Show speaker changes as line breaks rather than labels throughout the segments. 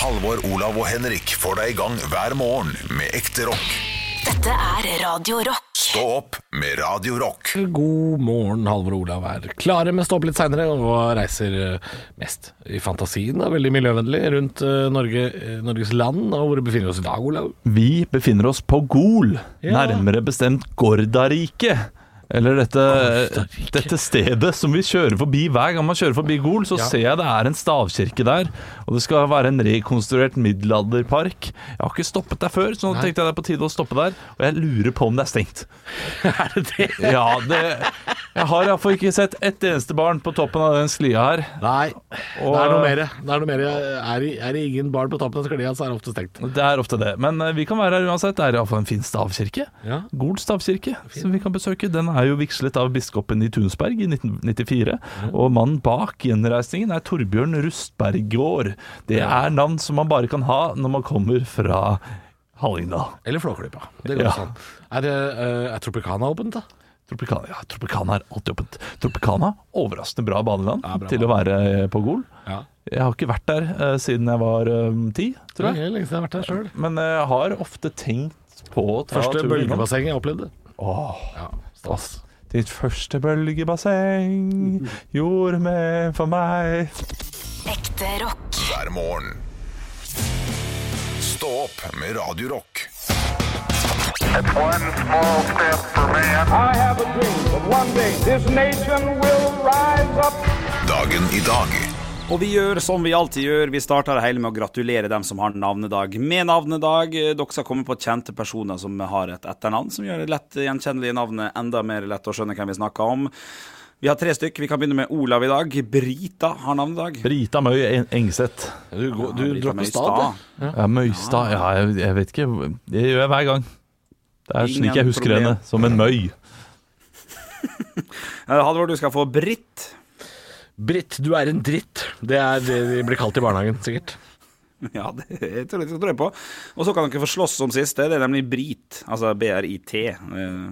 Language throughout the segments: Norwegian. Halvor, Olav og Henrik får deg i gang hver morgen med ekte rock.
Dette er Radio Rock.
Stå opp med Radio Rock.
God morgen, Halvor og Olav er klare, men står opp litt seinere og reiser eh, mest i fantasien. Da, veldig miljøvennlig rundt eh, Norge, eh, Norges land og hvor vi befinner oss i dag, Olav.
Vi befinner oss på Gol,
Ja.
nærmere bestemt Gordarike. Eller dette,
Gordarike.
dette stedet som vi kjører forbi hver gang man kjører forbi Gol, så
Ja.
ser jeg det er en stavkirke der. Og det skal være en rekonstruert middelalderpark. Jeg har ikke stoppet der før, så nå
Nei.
tenkte jeg det er på tide å stoppe der. Og jeg lurer på om det er stengt.
Er det det?
Ja, det Jeg har iallfall ikke sett ett eneste barn på toppen av den sklia her.
Nei,
Og-
det er noe mer. Det er, noe mer. Er, det- er det ingen barn på toppen av sklia, så er det ofte stengt.
Det er ofte det. Men eh, vi kan være her uansett. Det er iallfall en fin stavkirke.
Ja.
Gol stavkirke, som vi kan besøke. Den er jo vigslet av biskopen i Tunsberg i 1994. Og mannen bak gjenreisningen er Torbjørn Rustberggård. Det er navn som man bare kan ha når man kommer fra Hallingdal.
Eller Flåklypa. Det går
Ja.
sånn. Er, det, eh, er Tropicana åpent, da?
Tropicana, ja, Tropicana er alltid åpent. Tropicana, overraskende bra badeland
Ja, bra
til å være eh, på Gol.
Ja.
Jeg har ikke vært der eh, siden jeg var eh, ti,
Tror
tror jeg.
jeg. Lenge siden jeg har vært der sjøl.
Men eh, jeg har ofte tenkt på å ta
Første
turen innom.
bølgebasseng jeg opplevde.
Åh,
Ja, stas.
Ditt første bølgebasseng gjorde mer for meg
Ekte rock.
Hver morgen. Stå opp med Radio Rock.
It's one small step for man.
I have a dream that one day this nation will rise up.
Dagen i dag.
Og vi gjør som vi alltid gjør, vi starter det hele med å gratulere dem som har navnedag med navnedag. Eh, Dere skal komme på kjente personer som har et etternavn som gjør det lett gjenkjennelige navnet enda mer lett å skjønne hvem vi snakker om. Vi har tre stykk. Vi kan begynne med Olav i dag. Brita har navnedag.
Brita Møy En- Engseth
Du, går, du
Brita
drar på
Møystad.
stad, du?
Ja, Møystad, ja, jeg, jeg vet ikke Det gjør jeg hver gang Det er
Ingen
slik jeg husker
problem.
henne, som en møy
Eh, Halvor, du skal få Britt.
Britt, du er en dritt. Det er det de blir kalt i barnehagen, sikkert.
Ja, det jeg tror jeg, det tror jeg på. Og så kan dere få slåss om siste. Det er nemlig Brit. Altså B-R-I-T. Eh,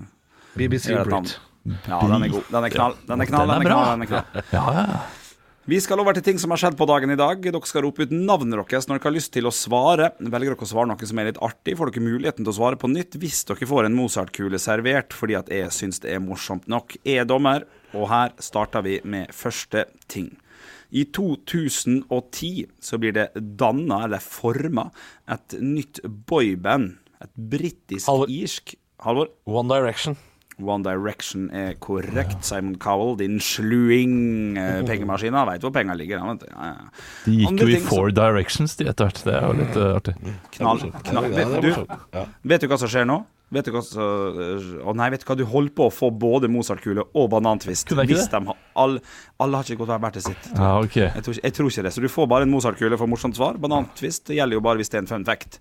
BBC
det er et navn.
Brit.
Ja, den er god. Den er knall. Den er knall,
Den er
den er
bra.
knall, den er knall.
Ja, ja
Vi skal over til ting som har skjedd på dagen i dag. Dere skal rope ut navnet deres når dere har lyst til å svare. Velger dere å svare noe som er litt artig, får dere muligheten til å svare på nytt hvis dere får en Mozart-kule servert, fordi at jeg syns det er morsomt nok. Jeg er dommer, og her starter vi med første ting. I 2010 så blir det danna, eller forma, et nytt boyband. Et
Halvor.
britisk-irsk Halvor?
One Direction.
One Direction er korrekt, Simon Cowell. Din sluing eh, pengemaskina veit hvor penga ligger. han vet du. Ja, ja.
De gikk
Andre
jo i
ting som-
Four Directions de etter hvert Det er jo litt eh, artig
Knall. knall. Vet, du, vet du hva som skjer nå? Vet du hva som Å nei, vet du hva? Du holder på å få både Mozart-kule og banantvist.
Kunne jeg ikke
Hvis
det?
de har alle, alle har ikke gått hver hvert til sitt.
Ja, ok
Jeg tror, ikke, jeg tror ikke det. Så du får bare en Mozart-kule for morsomt svar. Banantvist gjelder jo bare hvis det er en fun fact.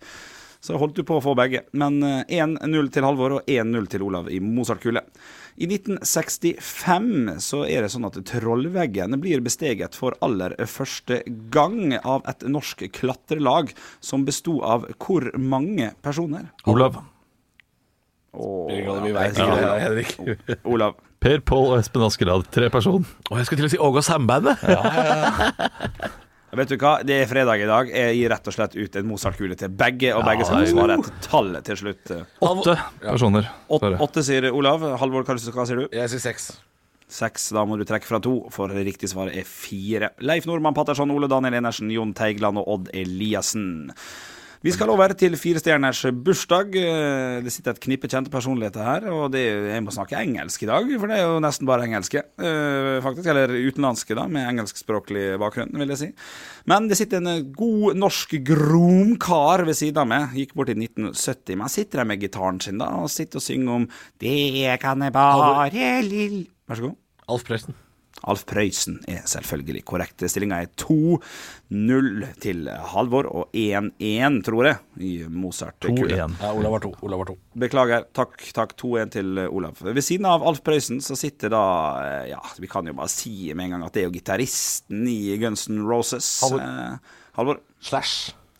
Så holdt du på å få begge. Men eh, 1-0 til Halvor og 1-0 til Olav i Mozart-kule. I 1965 så er det sånn at Trollveggen blir besteget for aller første gang av et norsk klatrelag som besto av hvor mange personer?
Olav,
Åh,
Vi
ja,
vet
jeg
ikke det,
sier det.
Henrik.
Olav.
Per, Pål og Espen Askerad Tre person
Og jeg skulle til å si Åge og Sambandet.
Vet du hva, det er fredag i dag. Jeg gir rett og slett ut en Mozart-kule til begge, og begge skal få svare et tall til slutt.
Åtte personer
Åt-
Sorry.
Åtte sier Olav. Halvor, hva hva sier du?
Jeg sier seks.
Seks. Da må du trekke fra to, for det riktige svaret er fire. Leif Nordmann Patterson, Ole Daniel Enersen, Jon Teigland og Odd Eliassen. Vi skal over til firestjerners bursdag. Eh, Det sitter et knippe kjente personligheter her, og det, er- jeg må snakke engelsk i dag, for det er jo nesten bare engelske, eh, faktisk. Eller utenlandske, da, med engelskspråklig bakgrunn, vil jeg si. Men det sitter en eh, god norsk gromkar ved siden av meg. Gikk bort i 1970, men sitter der med gitaren sin da, og sitter og synger om Det kan jeg bare lill... Vær så god.
Alf Prøysen.
Alf Prøysen er selvfølgelig korrekt. Stillinga er 2-0 til Halvor og 1-1, tror jeg, i Mozart-kule.
2-1
Ja, Olav var to. Olav var to.
Beklager. Takk, takk. 2-1 til Olav. Ved siden av Alf Prøysen så sitter da eh, Ja, vi kan jo bare si med en gang at det er jo gitaristen i Guns N' Roses.
Halvor.
Eh, Halvor.
Slash.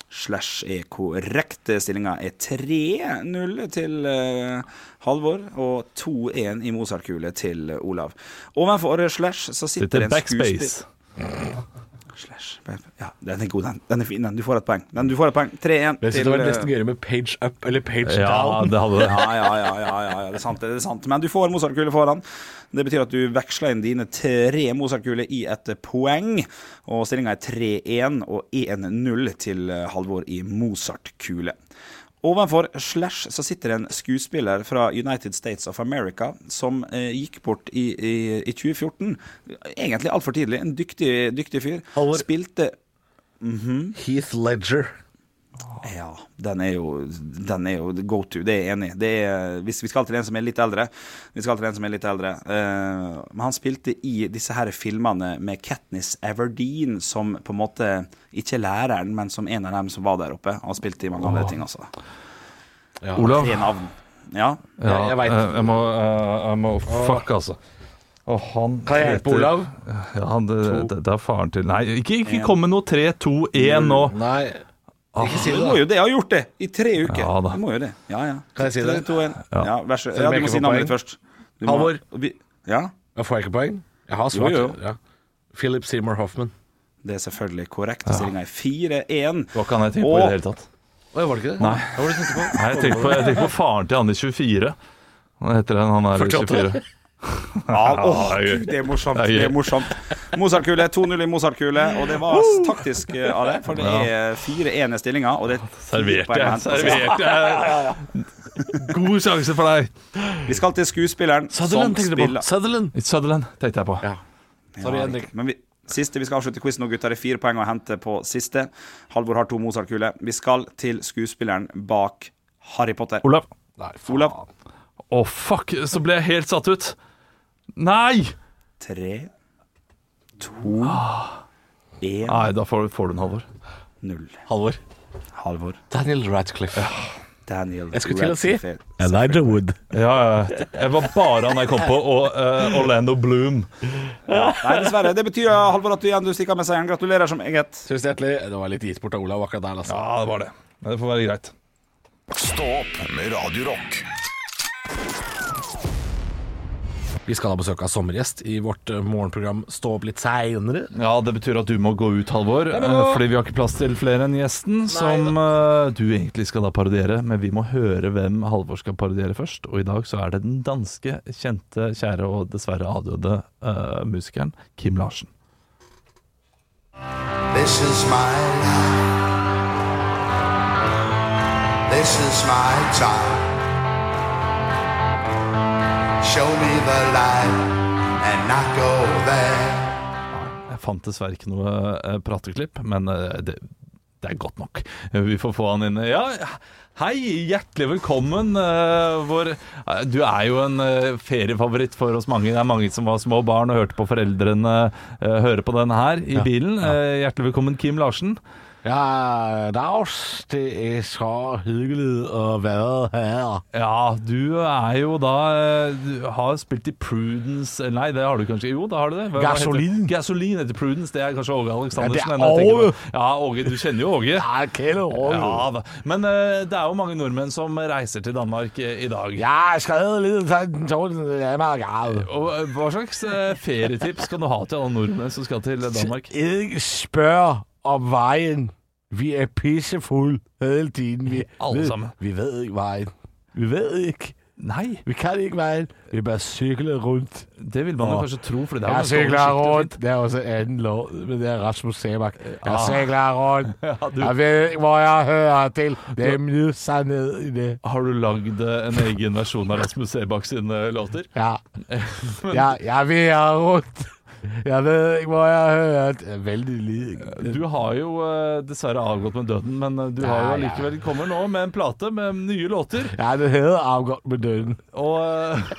Slash er korrekt. Stillinga er 3-0 til eh, Halvor og 2-1 i Mozart-kule til Olav. Ovenfor Slash så
Sitter
sitter en skuespiller
Backspace
slash bep. Ja, den er god, den. Den er fin, den. Du får et poeng. Den, du får et poeng. 3-1
Men jeg synes det var
eh,
nesten gøyere med page up eller page
Ja,
down.
det hadde det.
ja, ja, ja, ja, ja, ja, det er sant. det er sant Men du får Mozart-kule foran. Det betyr at du veksler inn dine tre Mozart-kuler i et poeng. Og stillinga er 3-1 og 1-0 til eh, Halvor i Mozart-kule. Ovenfor Slash så sitter en skuespiller fra United States of America som eh, gikk bort i, i, i 2014. Egentlig altfor tidlig. En dyktig, dyktig fyr.
Halvor.
Spilte
Heath Ledger.
ja, den er jo, den er jo go to, det er jeg enig i. Det er- hvis Vi skal til en som er litt eldre. Vi skal til en som er litt eldre. Eh, men han spilte i disse her filmene med Katniss Everdeen, som på en måte ikke er læreren, men som en av dem som var der oppe. Han spilte i mange andre ting også.
Ja.
Olav,
Tre navn. Ja.
ja,
jeg
jeg,
vet.
jeg, må, eh, jeg må Fuck, altså. Og han
Kan jeg hjelpe
heter-
Olav?
Ja, han, det, det, det er faren til Nei, ikke, ikke kom med noe 3, 2, 1 nå.
Nei, ikke si
Du
det,
må
da.
jo det. Jeg har gjort det i tre uker.
Ja da.
du må jo det. Ja, ja.
Kan jeg si det?
Tre, to, en.
Ja.
Ja, vær så
Selv om
Ja, du
jeg
må
ikke
si
får
navnet ditt
poeng.
først. Du må-
Halvor.
Vi- Ja,
Jeg får jeg ikke poeng? Jeg har
Jo,
svart.
jo.
Ja. Philip Seymour Hoffman.
det er selvfølgelig korrekt. Stillinga er 4-1.
Hva kan jeg tenke på i det hele tatt?
Oi, var det ikke det?
Nei.
Hva var det du tenkte på?
Nei, jeg tenker på, jeg tenker på faren til han i 24. Hva heter han? Han er i
48.
24.
Ja,
det er
åh,
gøy.
Gud, det er morsomt.
Det er
Det er
gøy.
morsomt. Mozart-kule, 2-0 i Mozart-kule, og det var taktisk eh, av det, for det er 4-1 i stillinga, og det er ti
Serverte
poeng å
jeg.
hente.
Serverte jeg. God sjanse for deg.
Vi skal til skuespilleren
Sutherland
som
tenkte jeg på.
spiller
Sutherland.
It's Sutherland, tenkte jeg på.
Ja. Sorry, Henrik.
Men vi, siste vi skal avslutte quizen nå, gutter, er fire poeng å hente på siste. Halvor har to Mozart-kuler. Vi skal til skuespilleren bak Harry Potter.
Olav.
Nei, faen.
Olav.
Å, fuck, så ble jeg helt satt ut. Nei!
Tre, to, én,
Nei, da får, får du den, Halvor.
null.
Halvor.
Halvor.
Daniel Radcliffe.
Daniel
Jeg skulle til å si.
Radcliffe.
Elijah Wood.
Ja, ja. Jeg var bare han jeg kom på, og eh, Orlando Bloom.
Nei, dessverre. Det betyr Halvor at du igjen du stikker med seieren. Gratulerer som eget.
Tusen hjertelig. Det var litt gitt bort av Olav akkurat der, altså.
Ja, det var det. Men det får være greit.
Stå opp med Radio Rock.
Vi skal ha besøk av sommergjest i vårt eh, morgenprogram Stå opp litt seinere.
Ja, Det betyr at du må gå ut, Halvor. eh, Fordi vi har ikke plass til flere enn gjesten, som eh, du egentlig skal da parodiere. Men vi må høre hvem Halvor skal parodiere først. Og i dag så er det den danske, kjente, kjære og dessverre avdøde eh, musikeren Kim Larsen.
This is my life. This is my time. Show me the light and not go there.
Jeg fant dessverre ikke noe eh, prateklipp, men eh, det, det er godt nok. Eh, Vi får få han inn. Ja, hei, hjertelig velkommen. eh, Vår, eh, du er jo en eh, feriefavoritt for oss mange. Det er mange som var små barn og hørte på foreldrene eh, høre på den her i bilen. Eh, Hjertelig velkommen, Kim Larsen.
Ja, Dags, det øh, er så hyggelig å være her.
Ja, du er jo da eh, Du har spilt i Prudence eller Nei, det har du kanskje Jo, da har du det. Hva- hva heter det?
Gasoline.
Gasoline heter Prudence. Det er kanskje Åge Aleksandersen.
Ja, det er
den jeg tenker
Åge.
på. Ja, Åge. Du kjenner jo Åge.
Ja, kæle
Ja da. Men eh, det er jo mange nordmenn som reiser til Danmark eh, i dag.
Jeg har skrevet litt sånn sånn Jeg er gal.
Og eh, Hva slags eh, ferietips kan du ha til alle nordmenn som skal til eh, Danmark?
Ikke spør om veien. Vi er pissefulde hele tiden. Vi,
Alle
vi-
sammen.
Vi vet ikke veien. Vi vet ikke.
Nei,
Vi kan ikke veien. Vi bare sykler rundt.
det vil man jo kanskje tro. Fordi det er jo
Jeg
ganske
sykler
oversiktlig og
rundt.
fint.
Det er også anden lov, men det er Rasmus Sebak. Jeg sykler rundt.
Øh, ah. du-
Jeg ved ikke, hvor jeg hører til. Det er mye sannhet i det.
Har du lagd eh, en egen versjon av Rasmus Sebak sine låter?
Ja. Jeg, jeg vil rundt. Jeg ved ikke, hvor jeg hører til. Det er Veldig lite.
Du har jo eh, dessverre avgått med døden, men eh, du har jo
Ja, ja.
allikevel kommer nå med en plate med nye låter.
Ja, det hedder avgått med døden.
Og eh,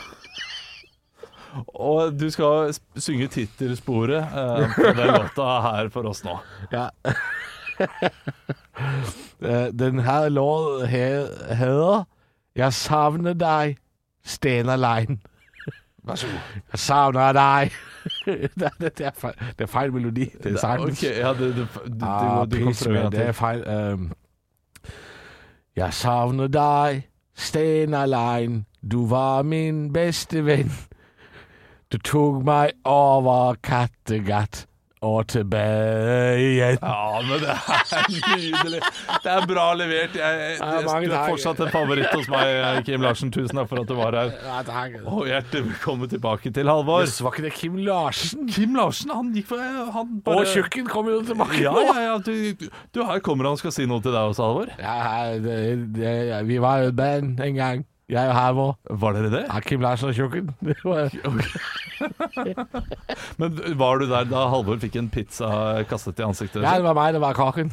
Og du skal s- synge tittelsporet eh, på den låta her for oss nå.
Ja. Øh, Den her låt he- hedder Jeg savner deg, Stena Line. Vær så god. Jeg savner deg. det, er, det, er feil, det er feil melodi. Det er sangen.
Ok, ja, du, du, du, du,
Ah,
du kan
pis,
prøve
men
en
det er
til.
feil. Øhm, jeg savner deg, Stena Line. Du var min beste venn. Du tok meg over Kattegat og tilbake igjen.
Ja, men det er nydelig. Det er bra levert. Jeg,
Ja,
jeg,
mange
du er
takk.
fortsatt en favoritt hos meg, eh, Kim Larsen. Tusen takk for at du var her.
Ja, takk.
Og hjertelig velkommen tilbake til Halvor.
Yes, var ikke det Kim Larsen?
Kim Larsen, han gikk for han
Og
bare
Tjukken kom jo tilbake
Ja,
nå.
ja, ja. Du, du, her kommer han og skal si noe til deg også, Halvor.
Ja, det, det, vi var jo et band en gang. Jeg og Hervor.
Var dere det?
Ja, Kim Larsen og Tjukken. Det var-
Men var du der da Halvor fikk en pizza kastet i ansiktet?
Ja, det var meg, det var Kaken.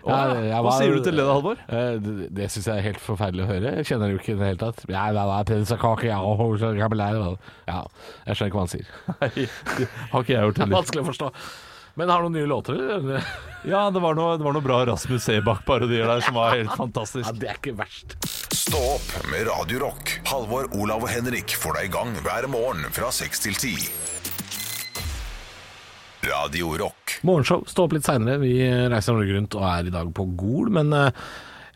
Å, Hva sier du til det, da, Halvor?
Eh, Det, det syns jeg er helt forferdelig å høre. Jeg kjenner det jo ikke i det hele tatt. Ja, det var pinsakake, ja, og hun så gammel er hun. ja, jeg skjønner ikke hva han sier.
Nei, det har ikke jeg gjort
Det er
heller.
vanskelig å forstå. Men har du noen nye låter? eller?
Ja, det var noe, det var noe bra Rasmus Sebakk-parodier der som var helt fantastisk.
Ja, det er ikke verst.
Stå opp med Radio Rock. Halvor, Olav og Henrik får deg i gang hver morgen fra 6 til 10. Radio Rock.
Morgenshow står opp litt seinere. Vi reiser Norge rundt og er i dag på Gol, men eh,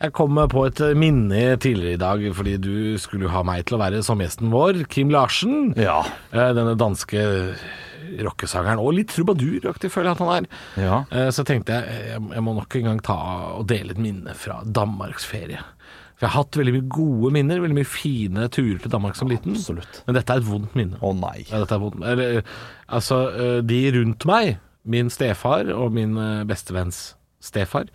jeg kom på et minne tidligere i dag, fordi du skulle jo ha meg til å være som gjesten vår, Kim Larsen.
Ja.
Eh, Denne danske rockesangeren, og litt trubaduraktig føler jeg at han er.
Ja.
Eh, Så tenkte jeg eh, jeg må nok en gang ta og dele et minne fra Danmarksferie. For jeg har hatt veldig mye gode minner, veldig mye fine turer til Danmark som liten.
Absolutt.
Men dette er et vondt minne.
Å nei.
Ja, dette er vondt. Eller, altså, eh, de rundt meg, min stefar og min eh, bestevenns stefar,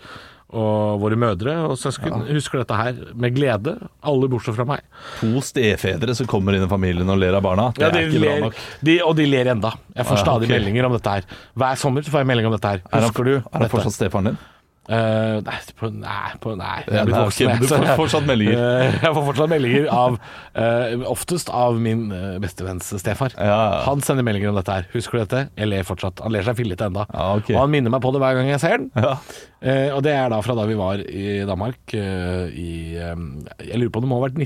og våre mødre og søsken, husker dette her med glede. Alle bortsett fra meg.
To stefedre som kommer inn i familien og ler av barna. Det
Ja, de
er ikke
ler,
bra nok.
De, og de ler enda. Jeg får
Ja,
stadig
ok.
meldinger om dette her. Hver sommer så får jeg melding om dette her.
Er han,
Husker du?
er han
dette?
fortsatt stefaren din?
Eh, nei, på, nei, på, nei, jeg
Ja,
er blitt
nei,
voksen.
ok, men
jeg,
du
så
får
jeg-
fortsatt meldinger.
Eh, jeg får fortsatt meldinger av eh, Oftest av min eh, bestevenns stefar.
Ja, ja.
Han sender meldinger om dette her. Husker du dette? Jeg ler fortsatt. Han ler seg fillete enda.
Ja, ok.
Og han minner meg på det hver gang jeg ser den.
Ja.
Eh, og det er da fra da vi var i Danmark eh, i eh, Jeg lurer på om det må ha vært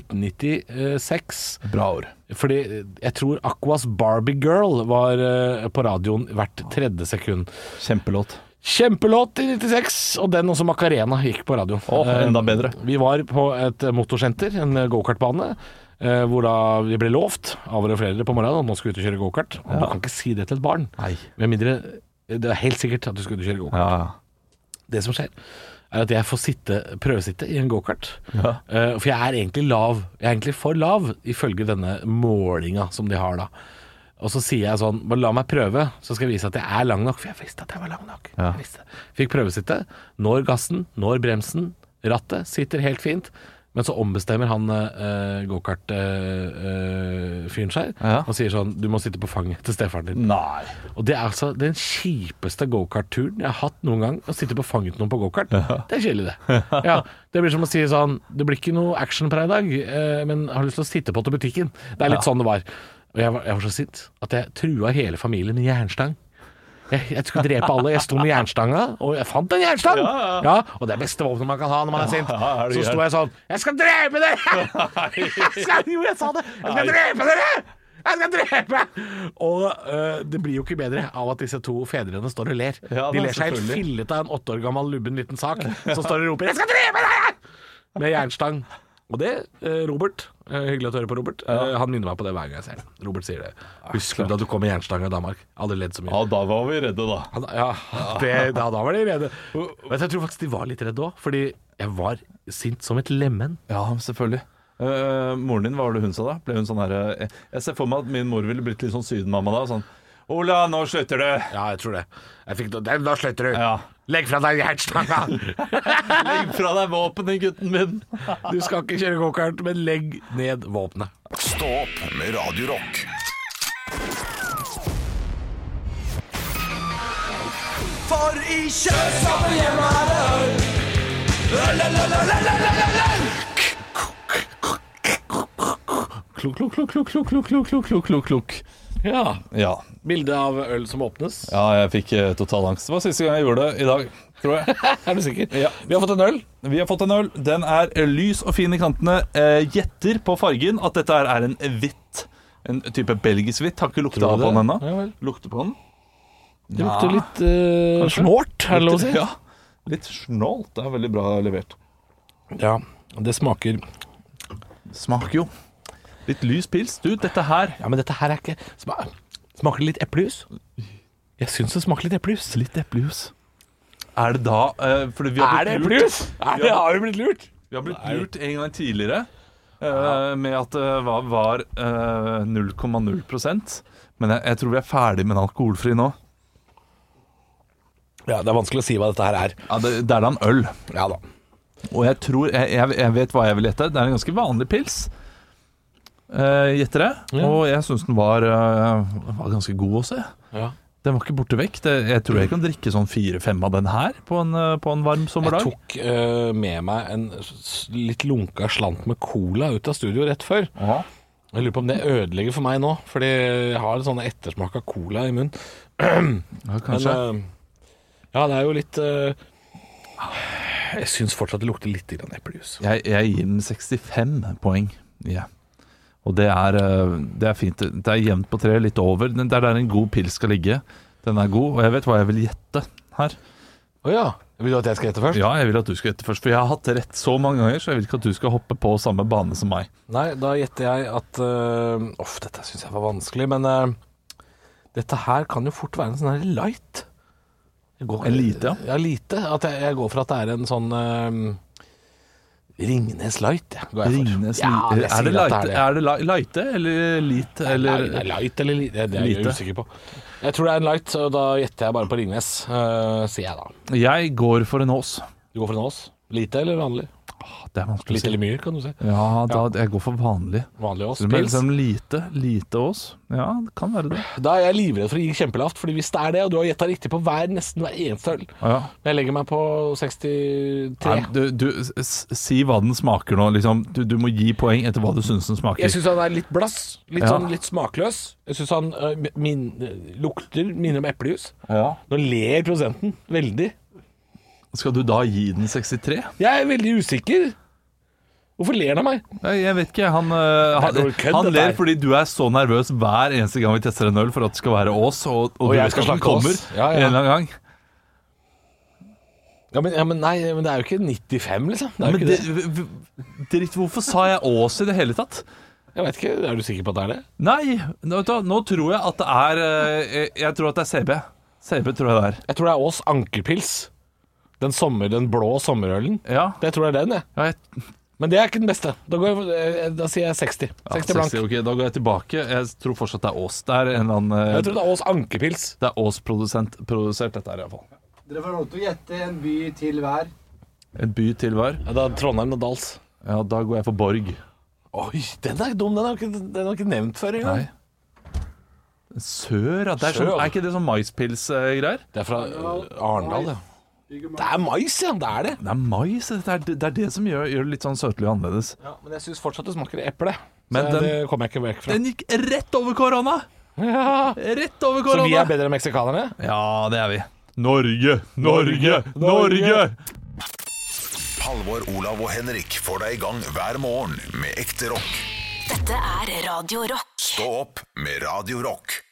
1996.
Bra år.
Fordi eh, jeg tror Aquas Barbie Girl var eh, på radioen hvert tredje sekund.
Kjempelåt.
Kjempelåt i 96, og den også Macarena gikk på radioen.
Åh,
Eh,
enda bedre.
Vi var på et motorsenter, en gokartbane, eh, hvor da vi ble lovt av våre foreldre på morgenen at nå skal vi ut og kjøre gokart. Og Du kan ikke si det til et barn.
Nei.
Med mindre det er helt sikkert at du skal ut og kjøre gokart.
Ja.
Det som skjer, er at jeg får sitte, prøvesitte i en gokart. Eh, for jeg er egentlig lav. Jeg er egentlig for lav, ifølge denne målinga som de har da. Og så sier jeg sånn Bare la meg prøve, så skal jeg vise at jeg er lang nok. For jeg visste at jeg var lang nok.
Ja.
Jeg visste. Fikk prøvesitte. Når gassen, når bremsen, rattet. Sitter helt fint. Men så ombestemmer han uh, gokart-fyren eh, seg
Ja.
og sier sånn Du må sitte på fanget til stefaren din.
Nei.
Og det er altså den kjipeste gokart-turen jeg har hatt noen gang. Å sitte på fanget til noen på gokart. Det er kjedelig, det. Ja, det blir som å si sånn Det blir ikke noe action på deg i dag, eh, men har lyst til å sitte på til butikken. Det er litt sånn det var. Og jeg var, jeg var så sint at jeg trua hele familien med jernstang. Jeg, jeg skulle drepe alle. Jeg sto med jernstanga, og jeg fant en jernstang! Ja, Og det er beste våpenet man kan ha når man er sint.
ja, er du
så sto
gæren?
jeg sånn Jeg skal drepe dere! Jeg skal, jo, jeg sa det! Jeg skal drepe dere! Jeg skal drepe! Og øh, det blir jo ikke bedre av at disse to fedrene står og ler.
Ja,
de
da,
ler seg helt
selvfølgelig.
fillete av en åtte år gammel lubben liten sak som står og roper 'Jeg skal drepe deg!' med jernstang. Og det, øh, Robert øh, Hyggelig at du hører på, Robert. øh, han minner meg på det hver gang jeg ser ham. Robert sier det. Husker du da du kom med jernstang i Danmark? Aldri ledd så mye.
Ja, da var vi redde, da.
Han, ja, det, da, da var de redde. Vet du, jeg tror faktisk de var litt redde òg, fordi jeg var sint som et lemen.
Ja, selvfølgelig. Eh, moren din, hva var det hun sa da? Ble hun sånn her, eh, Jeg ser for meg at min mor ville blitt litt sånn sydenmamma da. Sånn Ola, nå slutter du!
Ja, jeg tror det. Jeg fikk, den, da slutter du.
Ja.
Legg fra deg jernstanga!
Legg fra deg våpenet, gutten min!
Du skal ikke kjøre gokart, men legg ned våpenet.
Stå opp med Radio Rock.
Klok, klok, klok, klok, klok, klok, klok, klok, klok, klok, klok.
Ja.
Ja.
Bilde av øl som åpnes.
ja, jeg fikk eh, total angst. Det var siste gang jeg gjorde det i dag, tror jeg.
Er du sikker?
Ja.
Vi har fått en øl.
Vi har fått en øl. Den er lys og fin i kantene. Eh, Gjetter på fargen at dette her er en hvitt. En type belgisk hvitt. Har ikke lukta
Tror du
på den
det?
ennå.
Ja vel.
Lukter på den.
Det lukter litt uh, snålt, er det lov å si?
Ja. Litt snålt. Det er veldig bra levert.
Ja. Det smaker
Smaker jo. Litt lys pils. Du, dette her
Ja, men dette her er ikke sma- Smaker det litt eplejus? Jeg syns det smaker litt eplejus.
Litt eplejus. Er det da eh, Fordi vi har
Er det
blitt lurt.
eplejus? Er det, har vi blitt lurt?
Vi har blitt lurt en gang tidligere eh, med at det var, var eh, 0,0 Men jeg, jeg tror vi er ferdig med en alkoholfri nå.
Ja, Det er vanskelig å si hva dette her er.
Ja, det, det er da en øl.
Ja da.
Og jeg tror jeg, jeg, jeg vet hva jeg vil gjette. Det er en ganske vanlig pils. Eh, Gjetter jeg.
Ja.
Og jeg syns den var, eh, var ganske god også. jeg.
Ja.
Den var ikke borte vekk. Det, jeg tror jeg kan drikke sånn fire-fem av den her på en, eh, på en varm
Jeg
sommerdag.
tok eh, med meg en s- litt lunka slant med cola ut av studio rett før.
Aha.
Jeg lurer på om det ødelegger for meg nå, fordi jeg har en sånn ettersmak av cola i munnen.
Ja,
Men
kanskje.
eh, ja, det er jo litt eh, Jeg syns fortsatt det lukter litt grann eplejus.
jeg, jeg gir den 65 poeng. Ja. Og det er, eh, det er fint. Det er jevnt på treet, litt over. Den- Det er der en god pils skal ligge. Den er god, og jeg vet hva jeg vil gjette her.
Å ja. Vil du at jeg skal gjette først?
Ja, jeg vil at du skal gjette først, for jeg har hatt rett så mange ganger, så jeg vil ikke at du skal hoppe på samme bane som meg.
Nei, da gjetter jeg at uh, Uff, dette syns jeg var vanskelig, men eh, dette her kan jo fort være en sånn her light. Jeg går-
En lite, ja.
Ja, lite. At jeg, jeg går for at det er en sånn eh, Ringnes light, jeg, går jeg for.
Ringnes
ja, jeg
Er det
sier at
light-
det.
er det li- lighte eller lite
Nei, det
eller
er light eller lite? Det, det er jeg
Lite.
usikker på. Jeg tror det er en light, og da gjetter jeg bare på Ringnes, eh, sier jeg da.
Jeg går for en Ås.
Du går for en Ås? Lite eller vanlig?
Åh, Det er vanskelig å
Lite
si.
eller mye, kan du si.
Ja, da, jeg går for vanlig.
Vanlig Ås.
Men
Pils.
liksom lite, lite Ås. Ja, det kan være det.
Da er jeg livredd for å gi kjempelavt, Fordi hvis det er det, og du har gjetta riktig på hver, nesten hver eneste øl
Ja.
Jeg legger meg på 63.
Nei, du, du, s- s- si hva den smaker nå. Liksom. Du, du må gi poeng etter hva du syns den smaker.
jeg syns han er litt blass, litt,
Ja.
sånn, litt smakløs. Jeg syns han øh, min, øh, lukter minner om eplejus.
Ja.
Nå ler prosenten veldig.
Skal du da gi den 63?
Jeg er veldig usikker. Hvorfor ler han av meg?
Nei, Jeg vet ikke. Han, øh, han,
Det er noe kødd,
han
dette
ler
her.
fordi du er så nervøs hver eneste gang vi tester en øl for at det skal være Ås, og, og, du
jeg
vet
skal
at den
snakke Ås.
kommer
Ja, ja.
en eller annen gang.
Ja, men, ja, men nei, men det er jo ikke 95, liksom. Det er jo
Men
ikke
det,
det.
v- v- dritt, hvorfor sa jeg Ås i det hele tatt?
Jeg vet ikke, Er du sikker på at det er det?
Nei, nå, vet du hva, nå tror jeg at det er øh, jeg- Jeg tror at det er CB. CB tror jeg det er.
Jeg tror det er Ås Ankerpils. Den, sommer, den blå sommerølen.
Ja.
Det tror jeg er den, jeg.
ja jeg,
Men det er ikke den beste. Da, går jeg, for- eh, da sier jeg 60. 60
ja,
blank.
60, ok, da går jeg tilbake. Jeg tror fortsatt det er Ås. Det er en eller annen øh,
Jeg tror det er Ås Ankerpils.
Det er Ås produsent produsert dette her i hvert fall.
Dere får lov til å gjette en by til hver.
En by til hver.
Ja, da er Trondheim og Dals.
Ja, da går jeg for Borg.
Oi, den er dum. Den har ikke, den har ikke nevnt før engang.
Nei. Sør, ja. Det er,
Sør,
sånn,
ja.
er ikke det sånn maispils-greier?
Det er fra øh, Arendal, ja. Det er mais, ja. Det er det.
Det er mais. Det er det, er det som gjør, gjør det litt sånn søtlig og annerledes.
men jeg syns fortsatt det smaker eple.
Men
Så
den-
det kommer jeg ikke vekk fra.
Den gikk rett over korona!
Ja.
Rett over
Så vi er
korona!
bedre enn meksikanerne?
Ja, det er vi. Norge, Norge, Norge!
Halvor, Olav og Henrik får deg i gang hver morgen med ekte rock.
Dette er Radio Rock.
Stå opp med Radio Rock.